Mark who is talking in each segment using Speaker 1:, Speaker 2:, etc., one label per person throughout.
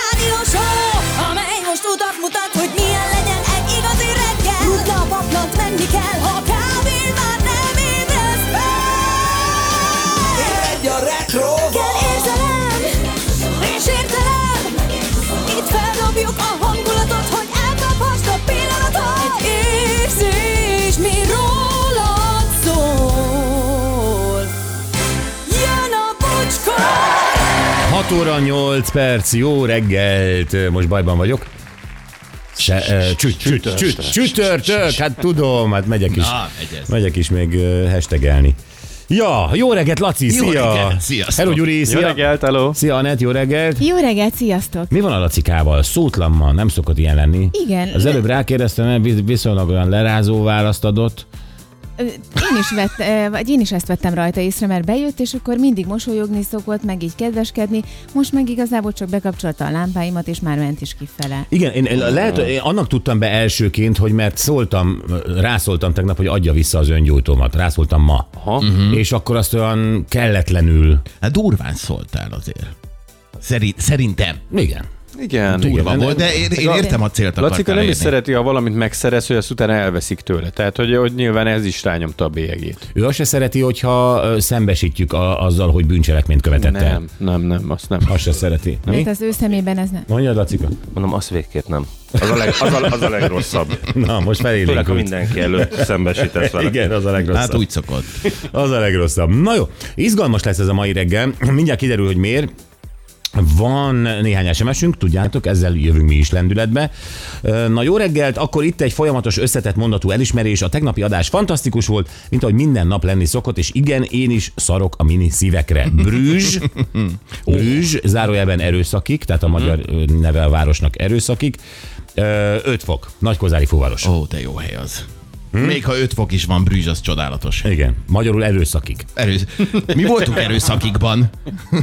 Speaker 1: rádió show, amely most utat mutat, hogy milyen legyen egy igazi reggel. Rutna a paplant, menni kell, ha kávén már nem ébredsz fel.
Speaker 2: Egy a retro
Speaker 1: Kell érzelem, és értelem, itt feldobjuk a hangulatot, hogy elkaphast a pillanatot. Egy érzés, mi rólad szól. Jön a bocskor!
Speaker 3: 6 óra 8 perc, jó reggelt, most bajban vagyok. Se, ö, csüt, csüt, csüt, csütörtök, hát tudom, hát megyek is,
Speaker 4: Na, megy ez.
Speaker 3: megyek is még ö, hashtagelni. Ja, jó reggelt, Laci,
Speaker 4: Jó
Speaker 3: szia!
Speaker 4: reggelt, sziasztok!
Speaker 3: Hello, Gyuri,
Speaker 5: Jó
Speaker 3: szia!
Speaker 5: reggelt, hello!
Speaker 3: Szia, Anett, jó reggelt!
Speaker 6: Jó reggelt, sziasztok!
Speaker 3: Mi van a Lacikával? Szótlanban, nem szokott ilyen lenni.
Speaker 6: Igen.
Speaker 3: Az előbb rákérdeztem, nem vis- viszonylag olyan lerázó választ adott.
Speaker 6: Ö, Én is, vett, ö, vagy én is ezt vettem rajta észre, mert bejött, és akkor mindig mosolyogni szokott, meg így kedveskedni. Most meg igazából csak bekapcsolta a lámpáimat, és már ment is kifele.
Speaker 3: Igen, én én lehet, én annak tudtam be elsőként, hogy mert szóltam, rászóltam tegnap, hogy adja vissza az öngyújtómat. Rászóltam ma. Aha. És akkor azt olyan kelletlenül.
Speaker 4: Hát durván szóltál azért. Szerint, szerintem.
Speaker 3: Igen.
Speaker 5: Igen,
Speaker 4: Durva
Speaker 3: Igen,
Speaker 4: volt, de én, én értem a célt
Speaker 5: Lacika
Speaker 4: akartál
Speaker 5: nem is
Speaker 4: érni.
Speaker 5: szereti, ha valamit megszerez, hogy azt utána elveszik tőle. Tehát, hogy, hogy nyilván ez is rányomta a bélyegét.
Speaker 3: Ő azt se szereti, hogyha ö, szembesítjük a, azzal, hogy bűncselekményt követett el.
Speaker 5: Nem, nem, nem, azt nem.
Speaker 3: Azt se szereti. Mi?
Speaker 6: Hát az ő szemében ez nem.
Speaker 3: Mondjad, Lacika?
Speaker 7: Mondom, azt végképp nem. Az a, leg, az a, az a legrosszabb.
Speaker 3: Na, most
Speaker 7: Főleg, ha
Speaker 3: felélénk.
Speaker 7: mindenki előtt szembesítesz vele.
Speaker 3: Igen, az a legrosszabb.
Speaker 4: Hát úgy szokott.
Speaker 3: Az a legrosszabb. Na jó, izgalmas lesz ez a mai reggel. Mindjárt kiderül, hogy miért. Van néhány sms tudjátok, ezzel jövünk mi is lendületbe. Ö, Na jó reggelt, akkor itt egy folyamatos összetett mondatú elismerés. A tegnapi adás fantasztikus volt, mint ahogy minden nap lenni szokott, és igen, én is szarok a mini szívekre. Brüzs, Brüzs, zárójelben erőszakik, tehát a magyar ö, neve a városnak erőszakik. 5 fok, Nagykozári főváros.
Speaker 4: Ó, de jó hely az.
Speaker 5: Hm?
Speaker 4: Még ha 5 fok is van, Brüzs, az csodálatos.
Speaker 3: Igen, magyarul erőszakik.
Speaker 4: Erősz... Mi voltunk erőszakikban?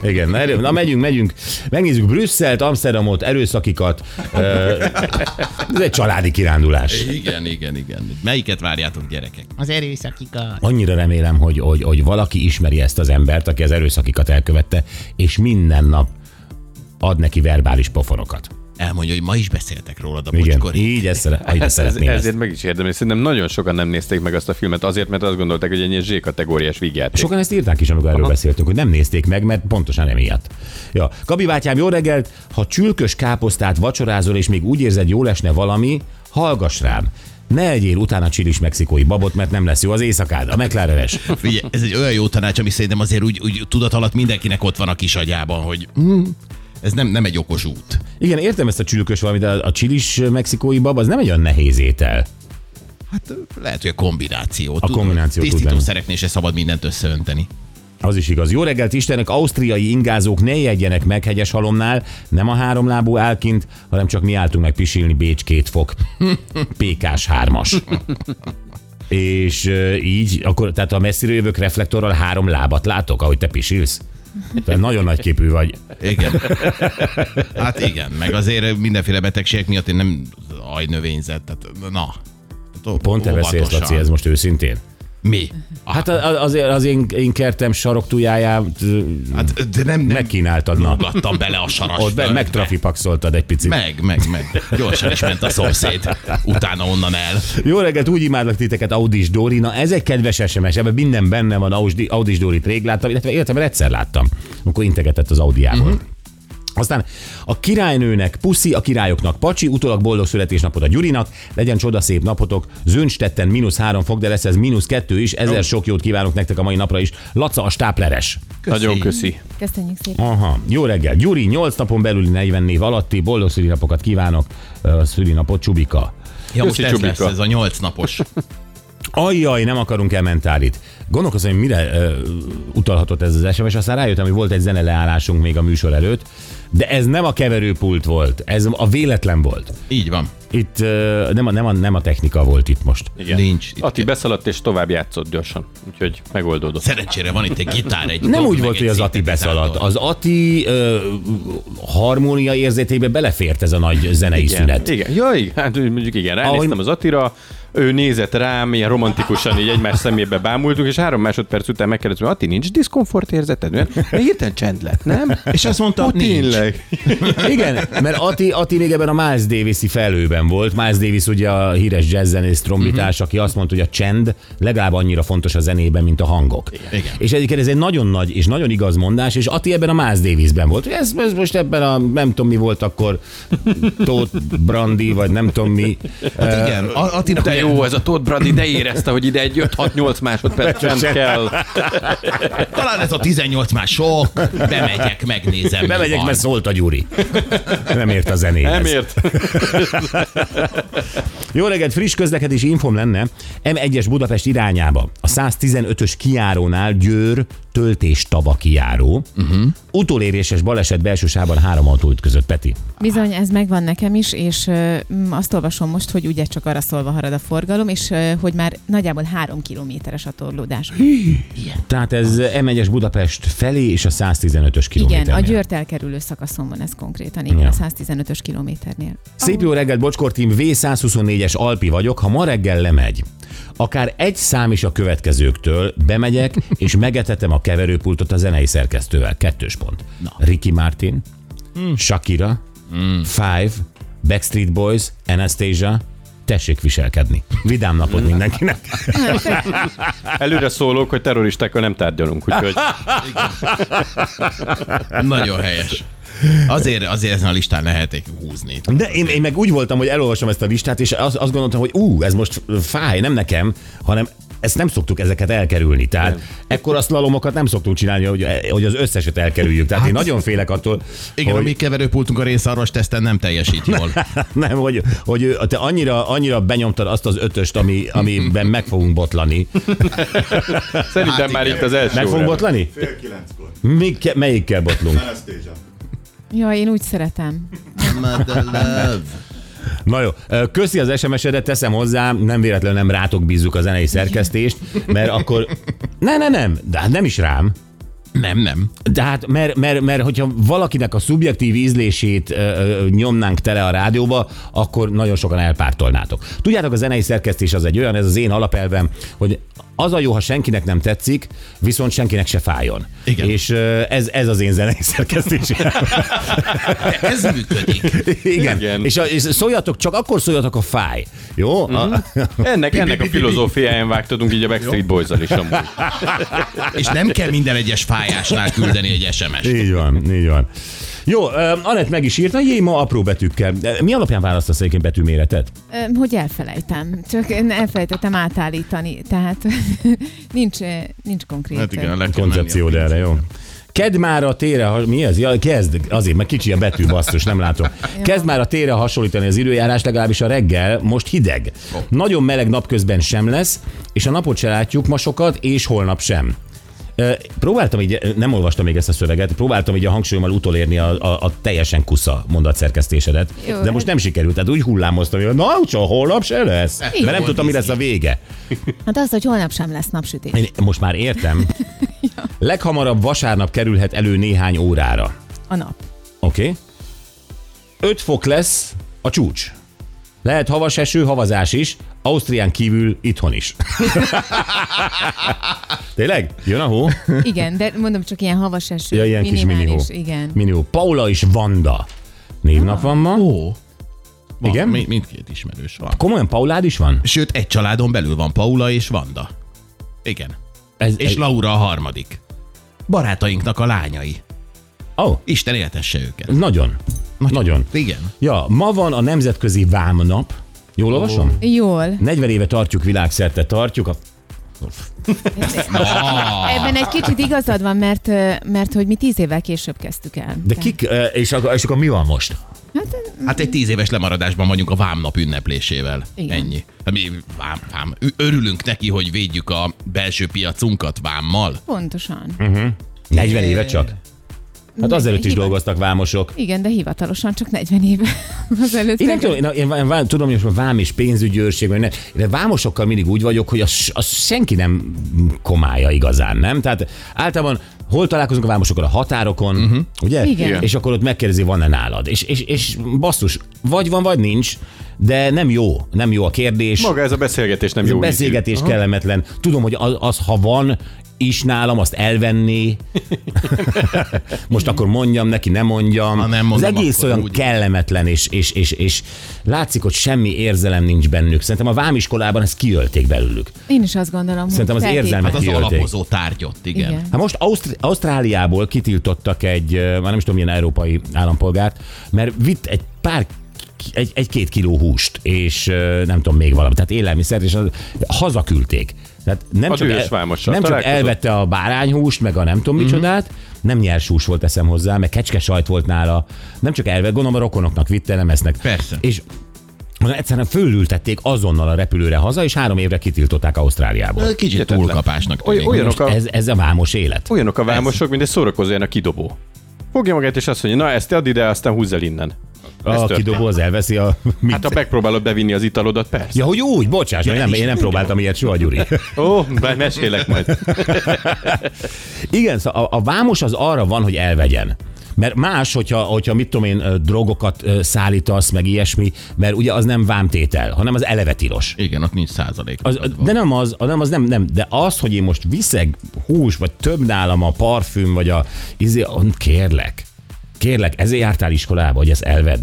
Speaker 3: Igen, na, erő, na megyünk, megyünk. Megnézzük Brüsszelt, Amsterdamot, erőszakikat. Ö, Ez egy családi kirándulás.
Speaker 4: Igen, igen, igen. Melyiket várjátok, gyerekek? Az erőszakikat.
Speaker 3: Annyira remélem, hogy, hogy, hogy valaki ismeri ezt az embert, aki az erőszakikat elkövette, és minden nap ad neki verbális pofonokat.
Speaker 4: Elmondja, hogy ma is beszéltek rólad a
Speaker 3: Igen,
Speaker 4: bocskori.
Speaker 3: így ezt, szere, ahogy ezt
Speaker 5: Ez, ez,
Speaker 3: szeretném ezt.
Speaker 5: ezért meg is érdemli. Szerintem nagyon sokan nem nézték meg azt a filmet, azért, mert azt gondolták, hogy egy ilyen Z-kategóriás vígjáték.
Speaker 3: Sokan ezt írták is, amikor erről Aha. beszéltünk, hogy nem nézték meg, mert pontosan emiatt. Ja. Gabi bátyám, jó reggelt! Ha csülkös káposztát vacsorázol, és még úgy érzed, jól esne valami, hallgass rám. Ne egyél utána csilis mexikói babot, mert nem lesz jó az éjszakád, a McLarenes.
Speaker 4: Figyelj, ez egy olyan jó tanács, ami szerintem azért úgy, úgy tudat alatt mindenkinek ott van a kis agyában, hogy hm, ez nem, nem egy okos út.
Speaker 3: Igen, értem ezt a csülkös valamit, de a csilis mexikói bab az nem egy olyan nehéz étel.
Speaker 4: Hát lehet, hogy a kombináció.
Speaker 3: A kombináció tud
Speaker 4: Tisztítószereknél se szabad mindent összeönteni.
Speaker 3: Az is igaz. Jó reggelt Istennek, ausztriai ingázók ne jegyenek meg hegyes halomnál, nem a háromlábú álkint, hanem csak mi álltunk meg pisilni Bécs két fok. Pékás hármas. És ö, így, akkor, tehát a messziről jövök reflektorral három lábat látok, ahogy te pisilsz? Te nagyon nagy képű vagy.
Speaker 4: Igen. Hát igen, meg azért mindenféle betegségek miatt én nem ajnövényzet, tehát na. Tehát
Speaker 3: Pont te beszélsz,
Speaker 4: óvatosan.
Speaker 3: Laci, ez most őszintén.
Speaker 4: Mi?
Speaker 3: Hát a- a- azért az én, én kertem saroktujáját hát,
Speaker 4: Hát, de nem, nem
Speaker 3: megkínáltad, na.
Speaker 4: ugattam bele a saras.
Speaker 3: Ott be,
Speaker 4: földbe.
Speaker 3: megtrafipaxoltad egy picit.
Speaker 4: Meg, meg, meg. Gyorsan is ment a szomszéd. Utána onnan el.
Speaker 3: Jó reggelt, úgy imádlak titeket, Audis Dóri. Na, ez egy kedves SMS, ebben minden benne van, Audi- Audis Dórit rég láttam, illetve életemben egyszer láttam, amikor integetett az Audiával. Mm-hmm. Aztán a királynőnek puszi, a királyoknak pacsi, utólag boldog születésnapot a Gyurinak, legyen csodaszép napotok, Zöncstetten mínusz három fok, de lesz ez mínusz kettő is, ezer sok jót kívánok nektek a mai napra is. Laca a stápleres.
Speaker 5: Nagyon köszi.
Speaker 6: Köszönjük szépen.
Speaker 3: Aha, jó reggel. Gyuri, 8 napon belüli 40 év alatti, boldog szülinapokat kívánok, Ö, szülinapot Csubika.
Speaker 4: Ja, most
Speaker 5: Köszi,
Speaker 4: ez lesz
Speaker 5: Csubika.
Speaker 4: ez a nyolc napos.
Speaker 3: Ajjaj, nem akarunk elmentálit. Gondolkozom, hogy mire ö, utalhatott ez az SMS, aztán rájöttem, hogy volt egy zeneleállásunk még a műsor előtt, de ez nem a keverőpult volt, ez a véletlen volt.
Speaker 4: Így van.
Speaker 3: Itt ö, nem a, nem a, nem a technika volt itt most.
Speaker 5: Igen.
Speaker 4: Nincs. Itt
Speaker 5: Ati beszaladt és tovább játszott gyorsan, úgyhogy megoldódott.
Speaker 4: Szerencsére van itt egy gitár, egy
Speaker 3: Nem
Speaker 4: dob,
Speaker 3: úgy
Speaker 4: meg
Speaker 3: volt,
Speaker 4: egy
Speaker 3: hogy az Ati
Speaker 4: szintetizátor.
Speaker 3: beszaladt. Az Ati ö, harmónia érzetébe belefért ez a nagy zenei
Speaker 5: igen.
Speaker 3: szünet.
Speaker 5: Igen, ja, igen. hát mondjuk igen, ránéztem
Speaker 3: Ahogy-
Speaker 5: az Atira, ő nézett rám, ilyen romantikusan így egymás szemébe bámultuk, és három másodperc után megkérdeztem, Ati, nincs diszkomfort érzeted? Olyan, De hirtelen csend lett, nem?
Speaker 4: És azt mondta,
Speaker 5: Ó,
Speaker 4: nincs.
Speaker 5: tényleg.
Speaker 3: Igen, mert Ati, Ati még ebben a Miles Davis-i felőben volt. Miles Davis ugye a híres jazzzenész trombitás, aki azt mondta, hogy a csend legalább annyira fontos a zenében, mint a hangok.
Speaker 4: Igen.
Speaker 3: És egyébként ez egy nagyon nagy és nagyon igaz mondás, és Ati ebben a Miles Davisben volt. Ez, ez most ebben a, nem tudom mi volt akkor, Tóth Brandi, vagy nem tudom mi.
Speaker 4: Hát igen, A- Attinak
Speaker 5: De
Speaker 4: ugye-
Speaker 5: jó, ez a Todd Brady, de érezte, hogy ide egy 5-6-8 másodperc csend kell.
Speaker 4: Talán ez a 18 már sok, bemegyek, megnézem. mi
Speaker 3: Bemegyek,
Speaker 4: van.
Speaker 3: mert szólt a Gyuri. Nem ért a zenéhez.
Speaker 5: Nem ért.
Speaker 3: Jó reggelt, friss közlekedési infom lenne. M1-es Budapest irányába a 115-ös kiárónál Győr töltéstaba kiáró. Uh-huh. Utoléréses baleset belső sávban három autó ütközött, Peti.
Speaker 6: Bizony, ez megvan nekem is, és ö, m, azt olvasom most, hogy ugye csak arra szólva harad a forgalom, és ö, hogy már nagyjából három kilométeres a torlódás.
Speaker 3: Tehát ez M1-es Budapest felé és a 115-ös
Speaker 6: Igen,
Speaker 3: kilométernél.
Speaker 6: a Győrt elkerülő szakaszon van ez konkrétan, igen,
Speaker 3: Ja.
Speaker 6: a 115-ös kilométernél.
Speaker 3: Szép jó reggelt, Bocskor Team, V124-es Alpi vagyok. Ha ma reggel lemegy, akár egy szám is a következőktől, bemegyek és megetetem a keverőpultot a zenei szerkesztővel. Kettős pont. Na. Ricky Martin, mm. Shakira, mm. Five, Backstreet Boys, Anastasia, tessék viselkedni. Vidám napot mindenkinek.
Speaker 5: Előre szólok, hogy terroristákkal nem tárgyalunk, úgyhogy
Speaker 4: Nagyon helyes. Azért, azért ezen a listán lehetik húzni.
Speaker 3: De én, én meg úgy voltam, hogy elolvasom ezt a listát, és azt, azt gondoltam, hogy ú, ez most fáj, nem nekem, hanem ezt nem szoktuk ezeket elkerülni. Tehát nem. ekkora szlalomokat nem szoktuk csinálni, hogy, hogy az összeset elkerüljük. Tehát hát, én nagyon félek attól,
Speaker 4: Igen, hogy... a mi
Speaker 3: hogy,
Speaker 4: keverőpultunk a részarvas teszten nem teljesít jól.
Speaker 3: nem, hogy, hogy ő- te annyira, annyira benyomtad azt az ötöst, ami, amiben meg fogunk botlani.
Speaker 5: szerintem
Speaker 4: Hát
Speaker 5: már
Speaker 4: igen.
Speaker 5: itt az első
Speaker 3: Meg fogunk
Speaker 5: órában.
Speaker 3: botlani?
Speaker 2: Fél kilenckor.
Speaker 3: Mik, melyikkel botlunk?
Speaker 2: Anastasia.
Speaker 6: Ja, én úgy szeretem.
Speaker 3: Na jó, ö, köszi az SMS-edet, teszem hozzá, nem véletlenül nem rátok bízzuk a zenei szerkesztést, mert akkor... Ne, ne, nem, de hát nem is rám.
Speaker 4: nem, nem.
Speaker 3: De hát, mert, mert, mert hogyha valakinek a szubjektív ízlését ö, ö, nyomnánk tele a rádióba, akkor nagyon sokan elpártolnátok. Tudjátok, a zenei szerkesztés az egy olyan, ez az én alapelvem, hogy az a jó, ha senkinek nem tetszik, viszont senkinek se fájjon.
Speaker 4: Igen.
Speaker 3: És ö, ez, ez az én zenei szerkesztésem.
Speaker 4: Ez működik.
Speaker 3: Igen. Igen.
Speaker 5: Igen.
Speaker 3: És, a, és szóljatok, csak akkor szóljatok, ha fáj. Jó? Mm-hmm. A,
Speaker 5: Ennek, ennek a filozófiáján vágtodunk így a Backstreet Boys-al is amúgy.
Speaker 4: És nem kell minden egyes fájásnál küldeni egy SMS-t.
Speaker 3: Így van, így van. Jó, ö, Anett meg is írta, jé, ma apró betűkkel. De Mi alapján választasz egyébként betűméretet?
Speaker 6: Ö, Hogy elfelejtem, csak én elfelejtettem átállítani, tehát nincs, ö, nincs konkrét.
Speaker 4: Hát igen, le kell
Speaker 3: koncepció, de erre jó. Kedd már a tére, ha- mi ez? Ja, kezd, azért, mert kicsi a betű, basszus, nem látom. Kezd már a tére hasonlítani az időjárás, legalábbis a reggel, most hideg. Nagyon meleg napközben sem lesz, és a napot se látjuk ma sokat, és holnap sem. Ö, Próbáltam így, nem olvastam még ezt a szöveget, próbáltam így a hangsúlyommal utolérni a, a, a teljesen kusza mondatszerkesztésedet,
Speaker 6: Jó,
Speaker 3: de most
Speaker 6: hát-
Speaker 3: nem sikerült, tehát úgy hullámoztam, hogy na, csak holnap se lesz, mert nem
Speaker 4: volt
Speaker 3: tudtam, mi lesz
Speaker 4: víz.
Speaker 3: a vége.
Speaker 6: Hát az, hogy holnap sem lesz napsütés.
Speaker 3: Én most már értem. Leghamarabb vasárnap kerülhet elő néhány órára.
Speaker 6: A nap.
Speaker 3: Oké? Okay? 5 fok lesz a csúcs. Lehet havas eső, havazás is, Ausztrián kívül itthon is. Tényleg? Jön a hó?
Speaker 6: Igen, de mondom csak ilyen havas eső.
Speaker 3: Ja, ilyen kis minihó.
Speaker 6: minimális, Igen. Ah.
Speaker 3: Minihó. Paula és Vanda. Névnap van ma.
Speaker 4: Ó, van,
Speaker 3: Igen?
Speaker 4: mi- mindkét ismerős van.
Speaker 3: Komolyan Paulád is van?
Speaker 4: Sőt, egy családon belül van Paula és Vanda. Igen.
Speaker 3: Ez,
Speaker 4: És
Speaker 3: ez-
Speaker 4: Laura a harmadik. Barátainknak a lányai.
Speaker 3: Ó, oh,
Speaker 4: Isten éltesse őket.
Speaker 3: nagyon. Nagyon.
Speaker 4: Igen.
Speaker 3: Ja, ma van a Nemzetközi Vámnap. Jól olvasom?
Speaker 6: Jól.
Speaker 3: 40 éve tartjuk világszerte, tartjuk a
Speaker 4: Ah.
Speaker 6: Ebben egy kicsit igazad van, mert, ö, mert hogy mi tíz évvel később kezdtük el.
Speaker 3: De kik, eh, és akkor, és akkor mi van most?
Speaker 6: Hát,
Speaker 4: Hát egy tíz éves lemaradásban vagyunk a vámnap ünneplésével.
Speaker 6: Igen.
Speaker 4: Ennyi. Hát mi vám, vám. Ü- Örülünk neki, hogy védjük a belső piacunkat vámmal. Hát
Speaker 6: pontosan.
Speaker 3: Hm. 40 éve csak? Hát azelőtt is
Speaker 6: Hiba-
Speaker 3: dolgoztak vámosok.
Speaker 6: Igen, de hivatalosan csak 40 éve azelőtt.
Speaker 3: Én nem tudom, én, én, vá- vá- tudom, hogy most már vám és pénzügyőrség, vagy ne, de vámosokkal mindig úgy vagyok, hogy az, az senki nem komálja igazán, nem? Tehát általában Hol találkozunk a vámosokon? A határokon, uh-huh. ugye?
Speaker 6: Igen.
Speaker 3: És akkor ott megkérdezi, van-e nálad. És, és, és basszus, vagy van, vagy nincs, de nem jó. Nem jó a kérdés.
Speaker 5: Maga ez a beszélgetés nem
Speaker 3: Ez
Speaker 5: jó.
Speaker 3: a
Speaker 5: ízű.
Speaker 3: beszélgetés kellemetlen. Tudom, hogy az, az, ha van is nálam, azt elvenni. Most akkor mondjam neki, ne mondjam.
Speaker 4: Ha nem mondom,
Speaker 3: az egész
Speaker 4: akkor
Speaker 3: olyan
Speaker 4: úgy.
Speaker 3: kellemetlen, és, és, és, és látszik, hogy semmi érzelem nincs bennük. Szerintem a vámiskolában ezt kiölték belőlük.
Speaker 6: Én is azt gondolom,
Speaker 3: Szerintem az
Speaker 6: hogy feltétlen.
Speaker 3: érzelmek-
Speaker 4: Hát az
Speaker 3: Kiölték.
Speaker 4: alapozó tárgyot, igen. igen.
Speaker 6: Igen.
Speaker 3: Hát most Ausztri- Ausztráliából kitiltottak egy, ö, már nem is tudom, milyen európai állampolgárt, mert vitt egy pár egy, egy-két kiló húst, és ö, nem tudom, még valamit, tehát élelmiszert, és az, hazaküldték. Tehát nem
Speaker 5: A
Speaker 3: csak,
Speaker 5: dühös vámossal Mhm.
Speaker 3: nem csak
Speaker 5: találkozott.
Speaker 3: elvette a bárányhúst, meg a nem tudom micsodát, nem nyers hús volt eszem hozzá, meg kecske sajt volt nála, nem csak elvett, gondolom a rokonoknak vitte, nem esznek.
Speaker 4: Persze.
Speaker 3: És hanem egyszerűen fölültették azonnal a repülőre haza, és három évre kitiltották Ausztráliából.
Speaker 4: Kicsit
Speaker 5: Hihetetlen.
Speaker 4: túlkapásnak
Speaker 5: Oly-
Speaker 4: tűnik.
Speaker 5: Olyanok a,
Speaker 3: Ez, ez a vámos élet.
Speaker 5: olyanok a vámosok, mint egy szórakozójának kidobó. Fogja magát és azt mondja, na ezt add ide, aztán húzz el innen. Ez
Speaker 3: A
Speaker 5: történt.
Speaker 3: kidobó az elveszi a... Mit?
Speaker 5: Hát ha megpróbálod bevinni az italodat, persze.
Speaker 3: Ja, hogy úgy, bocsáss, ja, nem, én nem próbáltam ilyet soha, Gyuri.
Speaker 5: Ó, oh, mesélek majd.
Speaker 3: Igen, szóval a, a vámos az arra van, hogy elvegyen. Mert más, hogyha, hogyha mit tudom én, ö, drogokat ö, szállítasz, meg ilyesmi, mert ugye az nem vámtétel, hanem az eleve tilos.
Speaker 4: Igen, ott nincs százalék.
Speaker 3: Az, de nem az, nem az nem, nem, de az, hogy én most viszek hús, vagy több nálam a parfüm, vagy a izé, on, kérlek. Kérlek, ezért jártál iskolába, hogy ezt elved.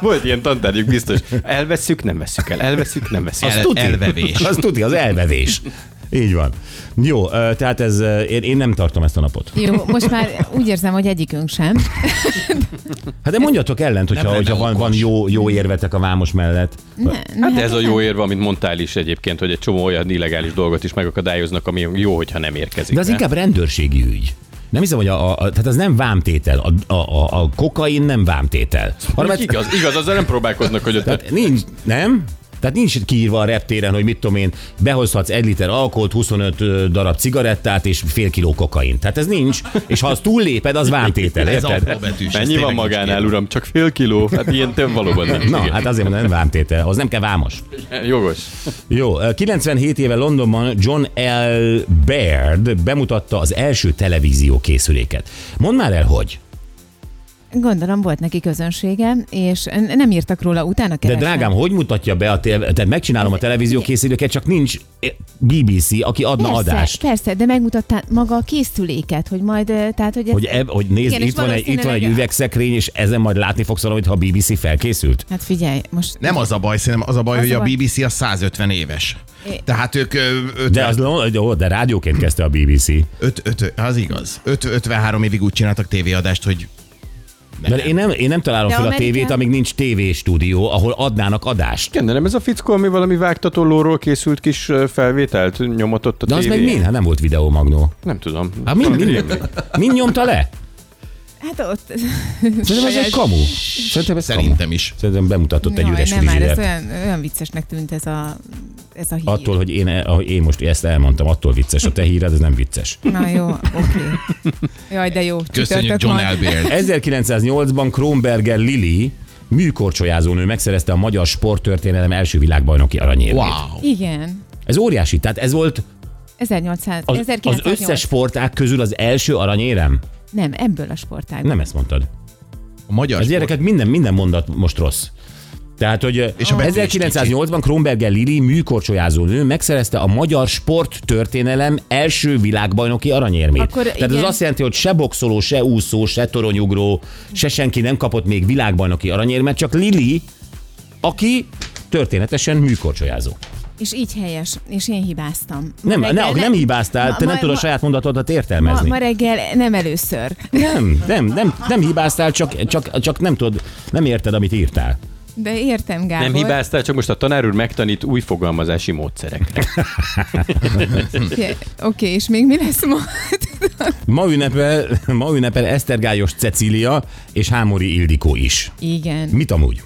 Speaker 5: Volt ilyen tantárgyuk, biztos. Elveszük, nem veszük el. Elveszük, nem veszük el.
Speaker 4: El- elvevés.
Speaker 3: Az tuti, az elvevés. Így van. Jó, ö, tehát ez, ö, én, én nem tartom ezt a napot.
Speaker 6: Jó, most már úgy érzem, hogy egyikünk sem.
Speaker 3: Hát de mondjatok ellent, hogyha,
Speaker 4: Nem lenne
Speaker 3: hogyha van,
Speaker 4: okos.
Speaker 3: van jó, jó érvetek a vámos mellett.
Speaker 6: Ne,
Speaker 5: Hát ez a jó érve, amit mondtál is egyébként, hogy egy csomó olyan illegális dolgot is megakadályoznak, ami jó, hogyha nem érkezik.
Speaker 3: De az
Speaker 5: ne?
Speaker 3: inkább rendőrségi ügy. Nem hiszem, hogy a, a, a tehát az nem vámtétel, a, a, a, a kokain nem vámtétel. Hanem,
Speaker 5: Mondjuk Igaz, igaz, azzal nem próbálkoznak, hogy ott
Speaker 3: tehát nincs, nem? Tehát nincs itt kiírva a reptéren, hogy mit tudom én, behozhatsz egy liter alkoholt, 25 darab cigarettát és fél kiló kokain. Tehát ez nincs, és ha azt túlléped, az vámtétel,
Speaker 4: Ez apró
Speaker 3: érted?
Speaker 4: betűs. ez
Speaker 5: Mennyi
Speaker 4: tényleg
Speaker 5: van
Speaker 4: nincs
Speaker 5: magánál,
Speaker 4: kérdés.
Speaker 5: uram? Csak fél kiló? Hát ilyen több valóban nincs.
Speaker 3: Na,
Speaker 5: igen.
Speaker 3: hát azért mondom, nem vámtétel, az nem kell vámos.
Speaker 5: Jogos.
Speaker 3: Jó, 97 éve Londonban John L. Baird bemutatta az első televízió készüléket. Mondd már el, hogy.
Speaker 6: Gondolom volt neki közönsége, és n- nem írtak róla, utána
Speaker 3: De
Speaker 6: kerestem.
Speaker 3: drágám, hogy mutatja be a tév... Tehát megcsinálom a televízió készüléket, csak nincs eh, BBC, aki adna
Speaker 6: Persze,
Speaker 3: adást.
Speaker 6: persze, de megmutatta maga a készüléket, hogy majd, ö, tehát, hogy...
Speaker 3: Hogy, eb, hogy nézd,
Speaker 6: Igen,
Speaker 3: Igen,
Speaker 6: és
Speaker 3: itt, van egy, itt van egy
Speaker 6: valószínűleg-
Speaker 3: üvegszekrény, és ezen majd látni fogsz valamit, ha a BBC felkészült.
Speaker 6: Hát figyelj, most...
Speaker 4: Nem az a baj, szerintem az a baj,
Speaker 6: Az
Speaker 4: hogy
Speaker 6: a
Speaker 4: a
Speaker 6: baj.
Speaker 4: BBC a 150 éves. Tehát ők ö,
Speaker 3: De,
Speaker 4: 50,
Speaker 3: az, ó, de rádióként kezdte a BBC.
Speaker 4: öt, öt, az igaz. Öt- 53 évig úgy csináltak tévéadást, hogy
Speaker 3: Mert én nem, én nem találom
Speaker 6: De
Speaker 3: fel a
Speaker 6: Amerika-
Speaker 3: tévét, amíg nincs tévéstúdió, ahol adnának adást.
Speaker 5: Igen, de nem ez a fickó, ami valami vágtatólóról készült kis ö, felvételt nyomatott a
Speaker 3: De az meg
Speaker 5: tévén?
Speaker 3: min? Hát nem volt videómagnó.
Speaker 5: Nem tudom.
Speaker 3: Hát min, min, min nyomta le?
Speaker 6: Hát ott...
Speaker 3: Szerintem ez egy kamu. Szerintem ez kamu.
Speaker 4: szerintem is.
Speaker 3: Szerintem bemutatott egy
Speaker 6: Jaj,
Speaker 3: üres
Speaker 6: nem, már ez
Speaker 3: frigidet.
Speaker 6: olyan, olyan viccesnek tűnt ez a, ez a hír.
Speaker 3: Attól, hogy én, e- ahogy én most ezt elmondtam, attól vicces. A te híred, ez nem vicces.
Speaker 6: Na jó, oké. Okay. Jaj, de jó.
Speaker 4: Köszönjük
Speaker 6: csütörtök
Speaker 4: John
Speaker 6: van.
Speaker 4: Elbért.
Speaker 3: 1908-ban Kronberger Lili műkorcsolyázónő megszerezte a magyar sporttörténelem első világbajnoki aranyérmét.
Speaker 4: Wow.
Speaker 6: Igen.
Speaker 3: Ez óriási, tehát ez volt
Speaker 6: 1800,
Speaker 3: az, az
Speaker 6: 1908.
Speaker 3: összes sportág közül az első aranyérem?
Speaker 6: Nem, ebből a sportágból.
Speaker 3: Nem ezt mondtad.
Speaker 4: A magyar
Speaker 3: Az
Speaker 4: sport-
Speaker 3: gyereket minden, minden mondat most rossz. Tehát, hogy
Speaker 4: És a betű is
Speaker 3: 1908-ban Kronberger Lili műkorcsolyázó nő megszerezte a magyar sporttörténelem első világbajnoki aranyérmét.
Speaker 6: Akkor
Speaker 3: Tehát
Speaker 6: igen.
Speaker 3: ez azt jelenti, hogy se boxoló, se úszó, se toronyugró, se senki nem kapott még világbajnoki aranyérmet, csak Lili, aki történetesen műkorcsolyázó.
Speaker 6: És így helyes, és én hibáztam. Ma
Speaker 3: Nem,
Speaker 6: reggel
Speaker 3: ne, nem hibáztál,
Speaker 6: ma-
Speaker 3: te nem
Speaker 6: ma-
Speaker 3: tudod a
Speaker 6: ma-
Speaker 3: saját mondatodat
Speaker 6: Ma,
Speaker 3: értelmezni.
Speaker 6: ma reggel nem először.
Speaker 3: Nem, nem, nem, nem hibáztál, csak, csak, csak nem tudod, nem érted, amit írtál.
Speaker 6: De értem, Gábor.
Speaker 5: Nem hibáztál, csak most a tanár úr megtanít új fogalmazási módszerekre.
Speaker 6: Oké, okay, és még mi lesz ma?
Speaker 3: Ma ünnepel, ma ünnepel Esztergályos Cecília és Hámori Ildikó is.
Speaker 6: Igen.
Speaker 3: Mit amúgy?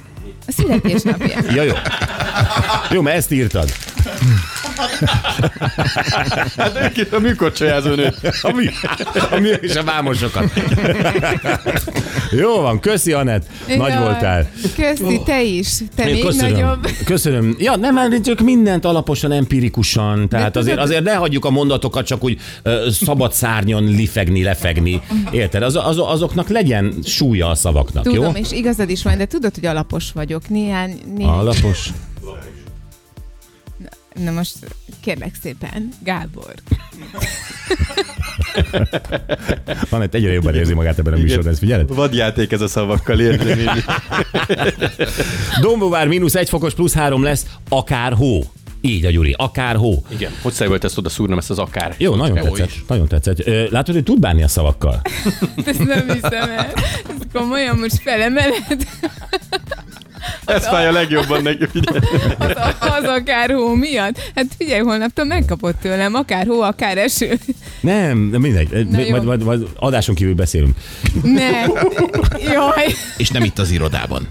Speaker 6: A születésnapja.
Speaker 3: Ja, jó. Jó, mert ezt írtad.
Speaker 5: Hát ők a műkorcsajázó nő.
Speaker 3: Ami, ami és a vámosokat. Jó van, köszi Anett, nagy
Speaker 6: Jaj,
Speaker 3: voltál.
Speaker 6: Köszi, te is. Te még
Speaker 3: köszönöm.
Speaker 6: nagyobb.
Speaker 3: Köszönöm. Ja, nem, hát csak mindent alaposan, empirikusan. Tehát
Speaker 6: tudod-
Speaker 3: azért, azért ne hagyjuk a mondatokat csak úgy ö, szabad szárnyon lifegni, lefegni. Érted? Az, az, azoknak legyen súlya a szavaknak,
Speaker 6: Tudom,
Speaker 3: jó?
Speaker 6: és igazad is van, de tudod, hogy alapos vagyok. Néhány, néhány...
Speaker 3: Alapos.
Speaker 6: Na most kérlek szépen, Gábor.
Speaker 3: Anett egyre jobban érzi magát ebben a műsorban, ezt figyeled?
Speaker 5: Vadjáték ez a szavakkal, érted?
Speaker 3: Dombovár mínusz egy fokos plusz három lesz, akár hó. Így a Gyuri, akár hó.
Speaker 5: Igen, hogy volt ezt oda szúrnom, ezt az akár.
Speaker 3: Jó, nagyon tetszett. Nagyon tetszett. Ö, Látod, hogy tud bánni a szavakkal?
Speaker 6: Ezt nem hiszem el. Ezt komolyan most felemeled.
Speaker 5: Ez fáj a legjobban neki, figyelj.
Speaker 6: Az, az akár hó miatt. Hát figyelj, holnaptól megkapod tőlem, akár hó, akár eső.
Speaker 3: Nem, de mindegy.
Speaker 6: Na jó.
Speaker 3: Majd, majd, majd adáson kívül beszélünk.
Speaker 6: Ne. Jaj.
Speaker 4: És nem itt az irodában.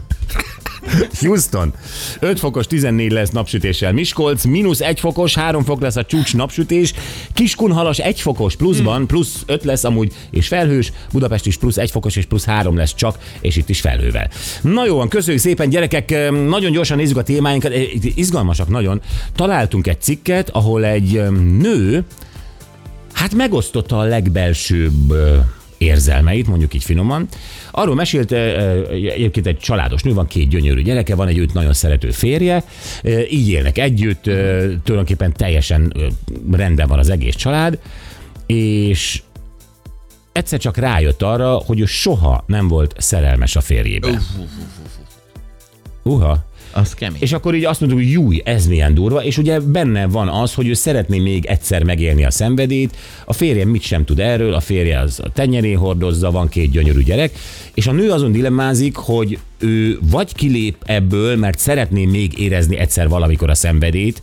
Speaker 3: Houston. 5 fokos 14 lesz napsütéssel Miskolc, mínusz 1 fokos, 3 fok lesz a csúcs napsütés, Kiskunhalas 1 fokos pluszban, plusz 5 lesz amúgy, és felhős, Budapest is plusz 1 fokos, és plusz 3 lesz csak, és itt is felhővel. Na jó, van, köszönjük szépen gyerekek, Ehm, nagyon gyorsan nézzük a témáinkat, Eh, izgalmasak nagyon. Találtunk egy cikket, ahol egy ehm, nő, hát megosztotta a legbelsőbb ö, érzelmeit, mondjuk így finoman. Arról mesélt ö, ö, egyébként egy családos nő, van két gyönyörű gyereke, van egy őt nagyon szerető férje, ö, így élnek együtt, ö, tulajdonképpen teljesen ö, rendben van az egész család, és egyszer csak rájött arra, hogy ő soha nem volt szerelmes a férjébe. Uha.
Speaker 4: Az kemény.
Speaker 3: És akkor így azt mondtuk, hogy júj, ez milyen durva, és ugye benne van az, hogy ő szeretné még egyszer megélni a szenvedélyt, a férje mit sem tud erről, a férje az a tenyerén hordozza, van két gyönyörű gyerek, és a nő azon dilemmázik, hogy ő vagy kilép ebből, mert szeretné még érezni egyszer valamikor a szenvedélyt,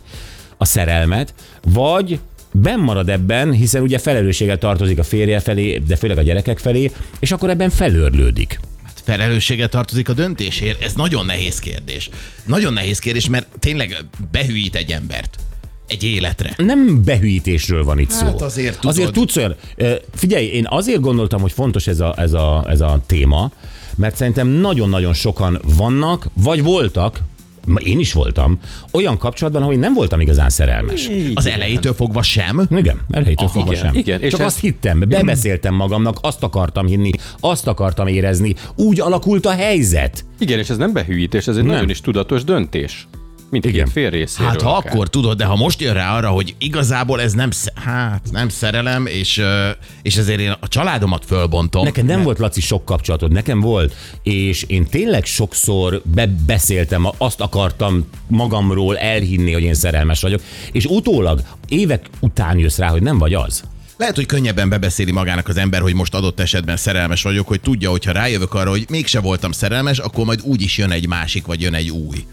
Speaker 3: a szerelmet, vagy benn marad ebben, hiszen ugye felelősséggel tartozik a férje felé, de főleg a gyerekek felé, és akkor ebben felörlődik.
Speaker 4: Hát felelőssége tartozik a döntésért? Ez nagyon nehéz kérdés. Nagyon nehéz kérdés, mert tényleg behűít egy embert. Egy életre.
Speaker 3: nem behűítésről van itt hát szó.
Speaker 4: azért tudod.
Speaker 3: Azért tudsz olyan. Ö, Figyelj, én azért gondoltam, hogy fontos ez a, ez a, ez a téma, mert szerintem nagyon-nagyon sokan vannak, vagy voltak, ma én is voltam, olyan kapcsolatban, ahol én nem voltam igazán szerelmes.
Speaker 4: Az elejétől fogva sem.
Speaker 3: Igen, elhelytől fogva
Speaker 4: igen,
Speaker 3: sem.
Speaker 5: igen, és
Speaker 3: Csak
Speaker 5: ez-
Speaker 3: azt hittem, bebeszéltem magamnak, azt akartam hinni, azt akartam érezni. Úgy alakult a helyzet.
Speaker 5: Igen, és ez nem behűítés, ez egy
Speaker 3: Nem.
Speaker 5: nagyon is tudatos döntés.
Speaker 3: Igen.
Speaker 5: Mindkét fél részéről.
Speaker 4: Hát ha
Speaker 5: akár.
Speaker 4: akkor tudod, de ha most jön rá arra, hogy igazából ez nem, sz- hát, nem szerelem, és, ö, és ezért én a családomat fölbontom.
Speaker 3: Neked nem volt, Laci, sok kapcsolatod, nekem volt, és én tényleg sokszor bebeszéltem, azt akartam magamról elhinni, hogy én szerelmes vagyok, és utólag, évek után jössz rá, hogy nem vagy az.
Speaker 4: Lehet, hogy könnyebben bebeszéli magának az ember, hogy most adott esetben szerelmes vagyok, hogy tudja, hogy ha rájövök arra, hogy mégse voltam szerelmes, akkor majd úgy is jön egy másik, vagy jön egy új.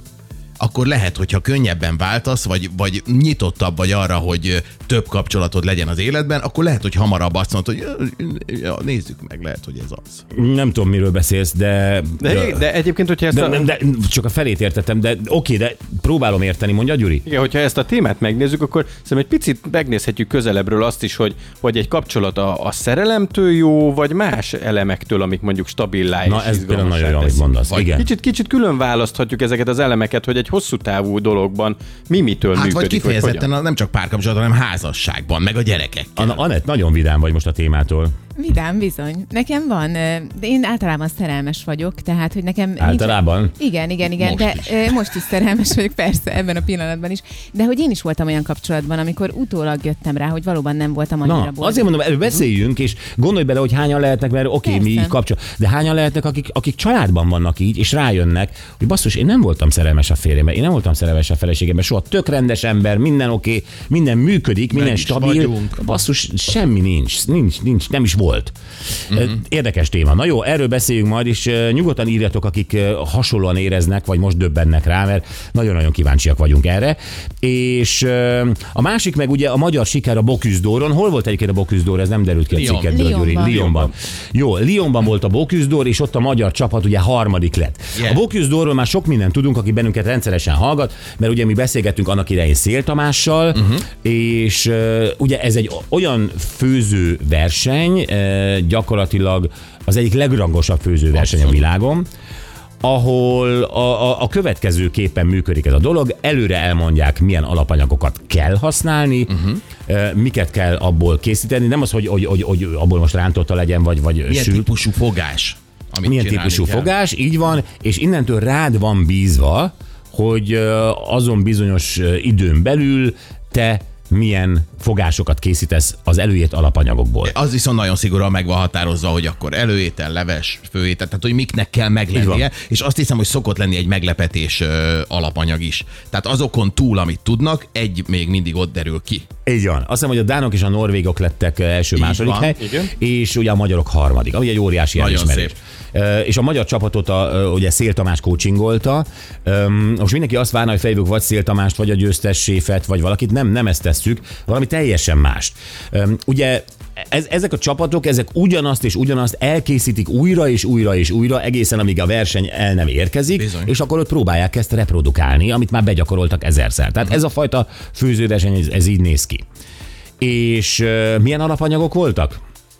Speaker 4: Akkor lehet, hogyha könnyebben váltasz, vagy, vagy nyitottabb vagy arra, hogy ö, több kapcsolatod legyen az életben, akkor lehet, hogy hamarabb azt mondod, hogy "Ö, ö, ja, nézzük meg, lehet, hogy ez az.
Speaker 3: Nem tudom, miről beszélsz, de...
Speaker 5: De, de egyébként, hogyha ezt
Speaker 3: de,
Speaker 5: a...
Speaker 3: de, de csak a felét értettem, de oké, de próbálom érteni, mondja Gyuri.
Speaker 5: Igen, hogyha ezt a témát megnézzük, akkor szerintem egy picit megnézhetjük közelebbről azt is, hogy, hogy egy kapcsolat a, a szerelemtől jó, vagy más elemektől, amik mondjuk stabilá és
Speaker 3: Na, ez például
Speaker 5: izgalmassá
Speaker 3: nagyon jó, amit
Speaker 5: teszik.
Speaker 3: mondasz. Igen.
Speaker 5: Kicsit, kicsit külön választhatjuk ezeket az elemeket, hogy egy hosszú távú dologban mi mitől
Speaker 4: Hát vagy
Speaker 5: működik, vagy
Speaker 4: kifejezetten
Speaker 5: hogyan.
Speaker 4: a, nem csak párkapcsolatban, hanem házasságban, meg a gyerekekkel.
Speaker 3: Anna, Anett, nagyon vidám vagy most a témától.
Speaker 6: Vidám, bizony. Nekem van, ö, de én általában szerelmes vagyok, tehát, hogy nekem... nincs-
Speaker 3: Általában?
Speaker 6: Igen, igen, igen,
Speaker 4: Most
Speaker 6: most de
Speaker 4: is.
Speaker 6: is. most is szerelmes vagyok, persze, ebben a pillanatban is. De hogy én is voltam olyan kapcsolatban, amikor utólag jöttem rá, hogy valóban nem voltam annyira
Speaker 3: Na,
Speaker 6: boldog.
Speaker 3: azért mondom, erről beszéljünk, és gondolj bele, hogy hányan lehetnek, mert oké, okay, mi
Speaker 6: Persze.
Speaker 3: így kapcsol, de hányan lehetnek, akik, akik családban vannak így, és rájönnek, hogy basszus, én nem voltam szerelmes a férjembe, én nem voltam szerelmes a feleségembe, soha tök rendes ember, minden oké, okay, minden működik, minden
Speaker 4: is
Speaker 3: stabil,
Speaker 4: vagyunk.
Speaker 3: basszus, semmi nincs, nincs, nincs, nem is volt. Mm-hmm. Érdekes téma. Na jó, erről beszéljünk majd, és ö, nyugodtan írjatok, akik ö, hasonlóan éreznek, vagy most döbbennek rá, mert nagyon-nagyon kíváncsiak vagyunk erre. És ö, a másik meg ugye a magyar siker a Boküzdóron. Hol volt egyébként a Boküzdór? Ez nem derült ki a
Speaker 4: Lyon.
Speaker 3: cikketből, Gyuri.
Speaker 6: Lyonban.
Speaker 3: Lyonban. Jó, Lyonban volt a Boküzdór, és ott a magyar csapat ugye harmadik lett.
Speaker 4: Yeah.
Speaker 3: A Boküzdóról már sok mindent tudunk, aki bennünket rendszeresen hallgat, mert ugye mi beszélgettünk annak idején Szél Tamással, uh-huh. és ö, ugye ez egy o- olyan főző verseny, ö, gyakorlatilag az egyik legrangosabb főzőverseny a
Speaker 4: Abszolút.
Speaker 3: világon, ahol a, a, a következő képen működik ez a dolog. Előre elmondják, milyen alapanyagokat kell használni,
Speaker 4: Mhm.
Speaker 3: uh-huh. ö, miket kell abból készíteni. Nem az, hogy, hogy, hogy, hogy abból most rántotta legyen, vagy, vagy
Speaker 4: Milyen
Speaker 3: sült.
Speaker 4: típusú fogás? Amit
Speaker 3: Milyen
Speaker 4: csinálni
Speaker 3: típusú
Speaker 4: kell?
Speaker 3: fogás, így van, és innentől rád van bízva, hogy ö, azon bizonyos ö, időn belül te milyen fogásokat készítesz az előírt alapanyagokból.
Speaker 4: Az viszont nagyon szigorúan meg van határozva, hogy akkor előétel, leves, főétel, tehát hogy miknek kell meglennie, és azt hiszem, hogy szokott lenni egy meglepetés ö, alapanyag is. Tehát azokon túl, amit tudnak, egy még mindig ott derül ki.
Speaker 3: Így van. Azt hiszem, hogy a dánok és a norvégok lettek első-második
Speaker 4: van.
Speaker 3: hely,
Speaker 5: Igen.
Speaker 3: és ugye a magyarok harmadik, ami egy óriási
Speaker 4: Nagyon
Speaker 3: elismerés.
Speaker 4: szép.
Speaker 3: Ö, És a magyar csapatot a, ö, ugye Szél Tamás coachingolta. Öm, Most mindenki azt várna, hogy fejlők vagy Szél Tamást, vagy a győztes séfet, vagy valakit. Nem, nem ezt tesszük, valami teljesen mást. Öm, Ugye ez, ezek a csapatok, ezek ugyanazt és ugyanazt elkészítik újra és újra és újra, egészen amíg a verseny el nem érkezik,
Speaker 4: Bizony.
Speaker 3: és akkor ott próbálják ezt reprodukálni, amit már begyakoroltak ezerszer. Tehát ez a fajta főzőverseny, ez, ez így néz ki. És uh, milyen alapanyagok voltak?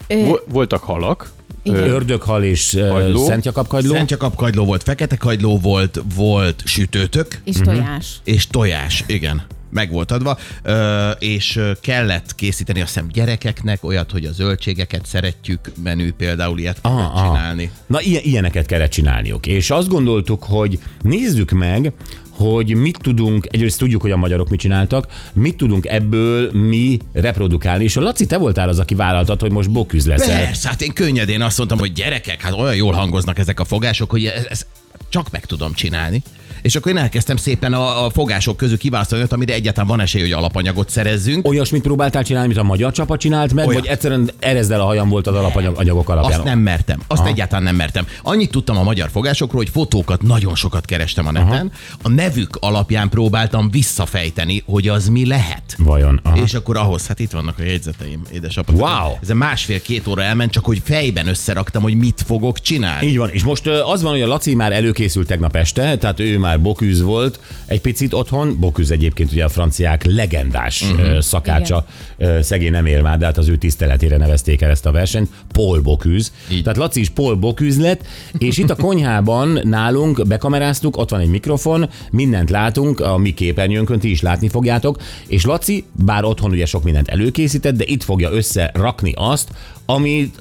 Speaker 5: Vol- Voltak halak,
Speaker 6: Igen.
Speaker 3: Ördöghal és uh,
Speaker 5: Kagyló.
Speaker 3: Szent Jakab kagyló.
Speaker 4: Szent Jakab kagyló volt, fekete kagyló volt, volt sütőtök,
Speaker 6: És
Speaker 3: Mhm.
Speaker 6: tojás.
Speaker 4: és tojás, igen, meg volt adva, ö, és ö, kellett készíteni azt hiszem gyerekeknek olyat, hogy a zöldségeket szeretjük menü például ilyet
Speaker 3: Aha,
Speaker 4: kellett
Speaker 3: aha.
Speaker 4: csinálni.
Speaker 3: Na ilyen, ilyeneket kellett csinálniuk. És azt gondoltuk, hogy nézzük meg, hogy mit tudunk, egyrészt tudjuk, hogy a magyarok mit csináltak, mit tudunk ebből mi reprodukálni. És a Laci, te voltál az, aki vállaltad, hogy most boküz leszel.
Speaker 4: Persze, hát én könnyedén azt mondtam, hogy gyerekek, hát olyan jól hangoznak ezek a fogások, hogy ezt ez csak meg tudom csinálni. És akkor én elkezdtem szépen a, a fogások közül kiválasztani, olyat, amire egyáltalán van esély, hogy alapanyagot szerezzünk.
Speaker 3: Olyasmit próbáltál csinálni, mint a magyar csapat csinált meg,
Speaker 4: Olyan.
Speaker 3: vagy egyszerűen erezd el a hajam volt az alapanyag, anyagok alapján.
Speaker 4: Azt nem mertem. Azt Aha. egyáltalán nem mertem. Annyit tudtam a magyar fogásokról, hogy fotókat nagyon sokat kerestem a neten. Aha. A nevük alapján próbáltam visszafejteni, hogy az mi lehet.
Speaker 3: Vajon? Aha.
Speaker 4: És akkor ahhoz, hát itt vannak a jegyzeteim, édesapa.
Speaker 3: Wow.
Speaker 4: Ez másfél-két óra elment, csak hogy fejben összeraktam, hogy mit fogok csinálni.
Speaker 3: Így van, és most ö, az van, hogy a Laci már előkészült tegnap este, tehát ő már bokűz volt egy picit otthon. Bokűz egyébként ugye a franciák legendás
Speaker 4: Mhm.
Speaker 3: uh-huh. szakácsa, Igen. szegény nem ér már, de hát az ő tiszteletére nevezték el ezt a versenyt. Paul Bokűz.
Speaker 4: Így.
Speaker 3: Tehát Laci is Paul Bokűz lett, és itt a konyhában nálunk bekameráztuk, ott van egy mikrofon, mindent látunk, a mi képernyőnkön ti is látni fogjátok, és Laci, bár otthon ugye sok mindent előkészített, de itt fogja összerakni azt, amit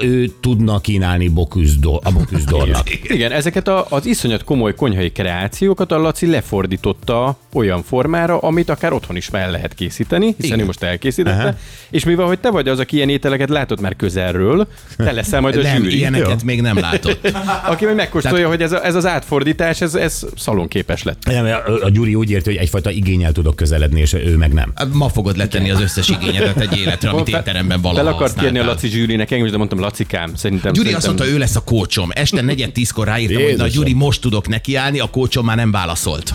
Speaker 3: ő tudna kínálni Boküzdor, a Boküzdornak.
Speaker 5: Igen, ezeket a, az iszonyat komoly konyhai kreációkat a Laci lefordította olyan formára, amit akár otthon is fel lehet készíteni, hiszen
Speaker 4: Igen.
Speaker 5: Igen. ő most elkészítette. Aha. És mivel, hogy te vagy az, aki ilyen ételeket látott már közelről, te leszel majd a
Speaker 4: Nem,
Speaker 5: zsűri.
Speaker 4: ilyeneket még nem látott.
Speaker 5: Aki majd megkóstolja, Tehát... hogy ez, a, ez az átfordítás, ez, ez szalonképes lett.
Speaker 3: Nem, a, a Gyuri úgy érti, hogy egyfajta igényel tudok közeledni, és ő meg nem.
Speaker 4: Ma fogod letenni az összes igényedet egy életre, amit
Speaker 5: Fel-
Speaker 4: étteremben valaha
Speaker 5: Fel akart kérni a
Speaker 4: használtál.
Speaker 5: Laci zsűrinek engem, is, de mondtam, Lacikám, szerintem...
Speaker 4: Gyuri
Speaker 5: szerintem...
Speaker 4: azt mondta, ő lesz a kócsom. Este negyed tízkor ráírtam, hogy na
Speaker 3: Jézusom.
Speaker 4: Gyuri, most tudok nekiállni, a kócsom már nem válaszolt.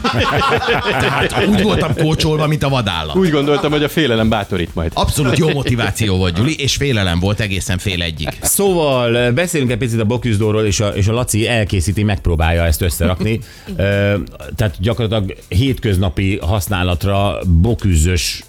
Speaker 4: Tehát úgy voltam kócsolva, mint a vadállat.
Speaker 5: Úgy gondoltam, hogy a félelem bátorít majd.
Speaker 4: Abszolút jó motiváció volt, Gyuri, és félelem volt egészen fél egyig.
Speaker 3: Szóval beszélünk egy picit a Boküzdorról, és a, és a Laci elkészíti, megpróbálja ezt összerakni. Ö, Tehát gyakorlatilag hétköznapi használatra boküzös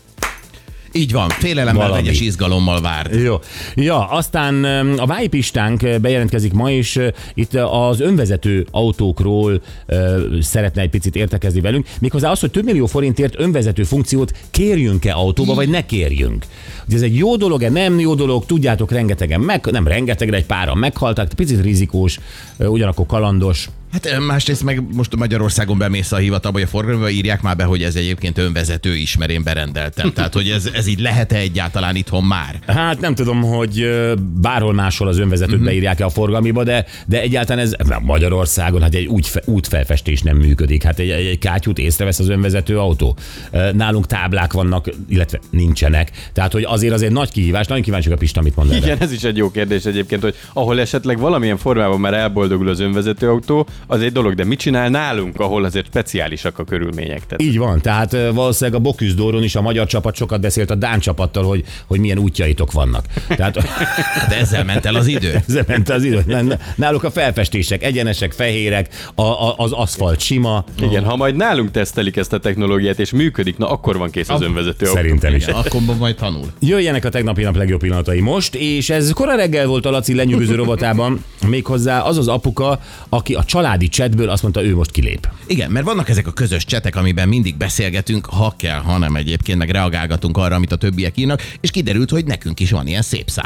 Speaker 4: Így van, félelemmel,
Speaker 3: Valami.
Speaker 4: egyes izgalommal vár.
Speaker 3: Jó. Ja, aztán öm, a Váj Pistánk ö, bejelentkezik ma, és ö, itt eh, az önvezető autókról ö, szeretne egy picit értekezni velünk. Méghozzá az, hogy több millió forintért önvezető funkciót kérjünk-e autóba, vagy ne kérjünk. Ugye ez egy jó dolog-e, nem jó dolog, tudjátok, rengetegen meg, nem rengeteg, de egy páran meghaltak, picit rizikós, ö, eh, ugyanakkor kalandos.
Speaker 4: Hát ö, másrészt meg most Magyarországon bemész a hivatalba, vagy a forgalomba, írják már be, hogy ez egyébként önvezető is, mert én berendeltem. Tehát, hogy ez, ez így lehet-e egyáltalán itthon már?
Speaker 3: Hát nem tudom, hogy ö, bárhol máshol az önvezetőt
Speaker 5: Mhm.
Speaker 3: mm-hmm. beírják-e a forgalmiba, de, de egyáltalán ez na, Magyarországon hát egy úgyfe, útfelfestés nem működik. Hát egy, egy, egy kátyút észrevesz az önvezető autó. Ö, Nálunk táblák vannak, illetve nincsenek. Tehát, hogy azért az egy nagy kihívás, nagyon kíváncsiak a Pista, mit mond erre.
Speaker 5: Igen, ez is egy jó kérdés egyébként, hogy ahol esetleg valamilyen formában már elboldogul az önvezető autó, az egy dolog, de mit csinál nálunk, ahol azért speciálisak a körülmények? Tehát
Speaker 3: Így van, tehát ö, valószínűleg a Boküzdóron is a magyar csapat sokat beszélt a Dán csapattal, hogy, hogy milyen útjaitok vannak. Tehát
Speaker 4: Hát ezzel ment el az idő.
Speaker 3: ezzel ment az idő. Nem, Náluk a felfestések egyenesek, fehérek, a, a, az aszfalt sima.
Speaker 5: igen, ha majd nálunk tesztelik ezt a technológiát, és működik, na akkor van kész az önvezető autó.
Speaker 3: Szerintem is.
Speaker 4: Igen, akkor majd tanul.
Speaker 3: Jöjjenek a tegnapi nap legjobb pillanatai most, és ez kora reggel volt a Laci lenyűgöző rovatában, méghozzá az az apuka, aki a családi csetből azt mondta, ő most kilép.
Speaker 4: Igen, mert vannak ezek a közös csetek, amiben mindig beszélgetünk, ha kell, hanem egyébként, meg reagálgatunk arra, amit a többiek írnak, és kiderült, hogy nekünk is van ilyen szép szám.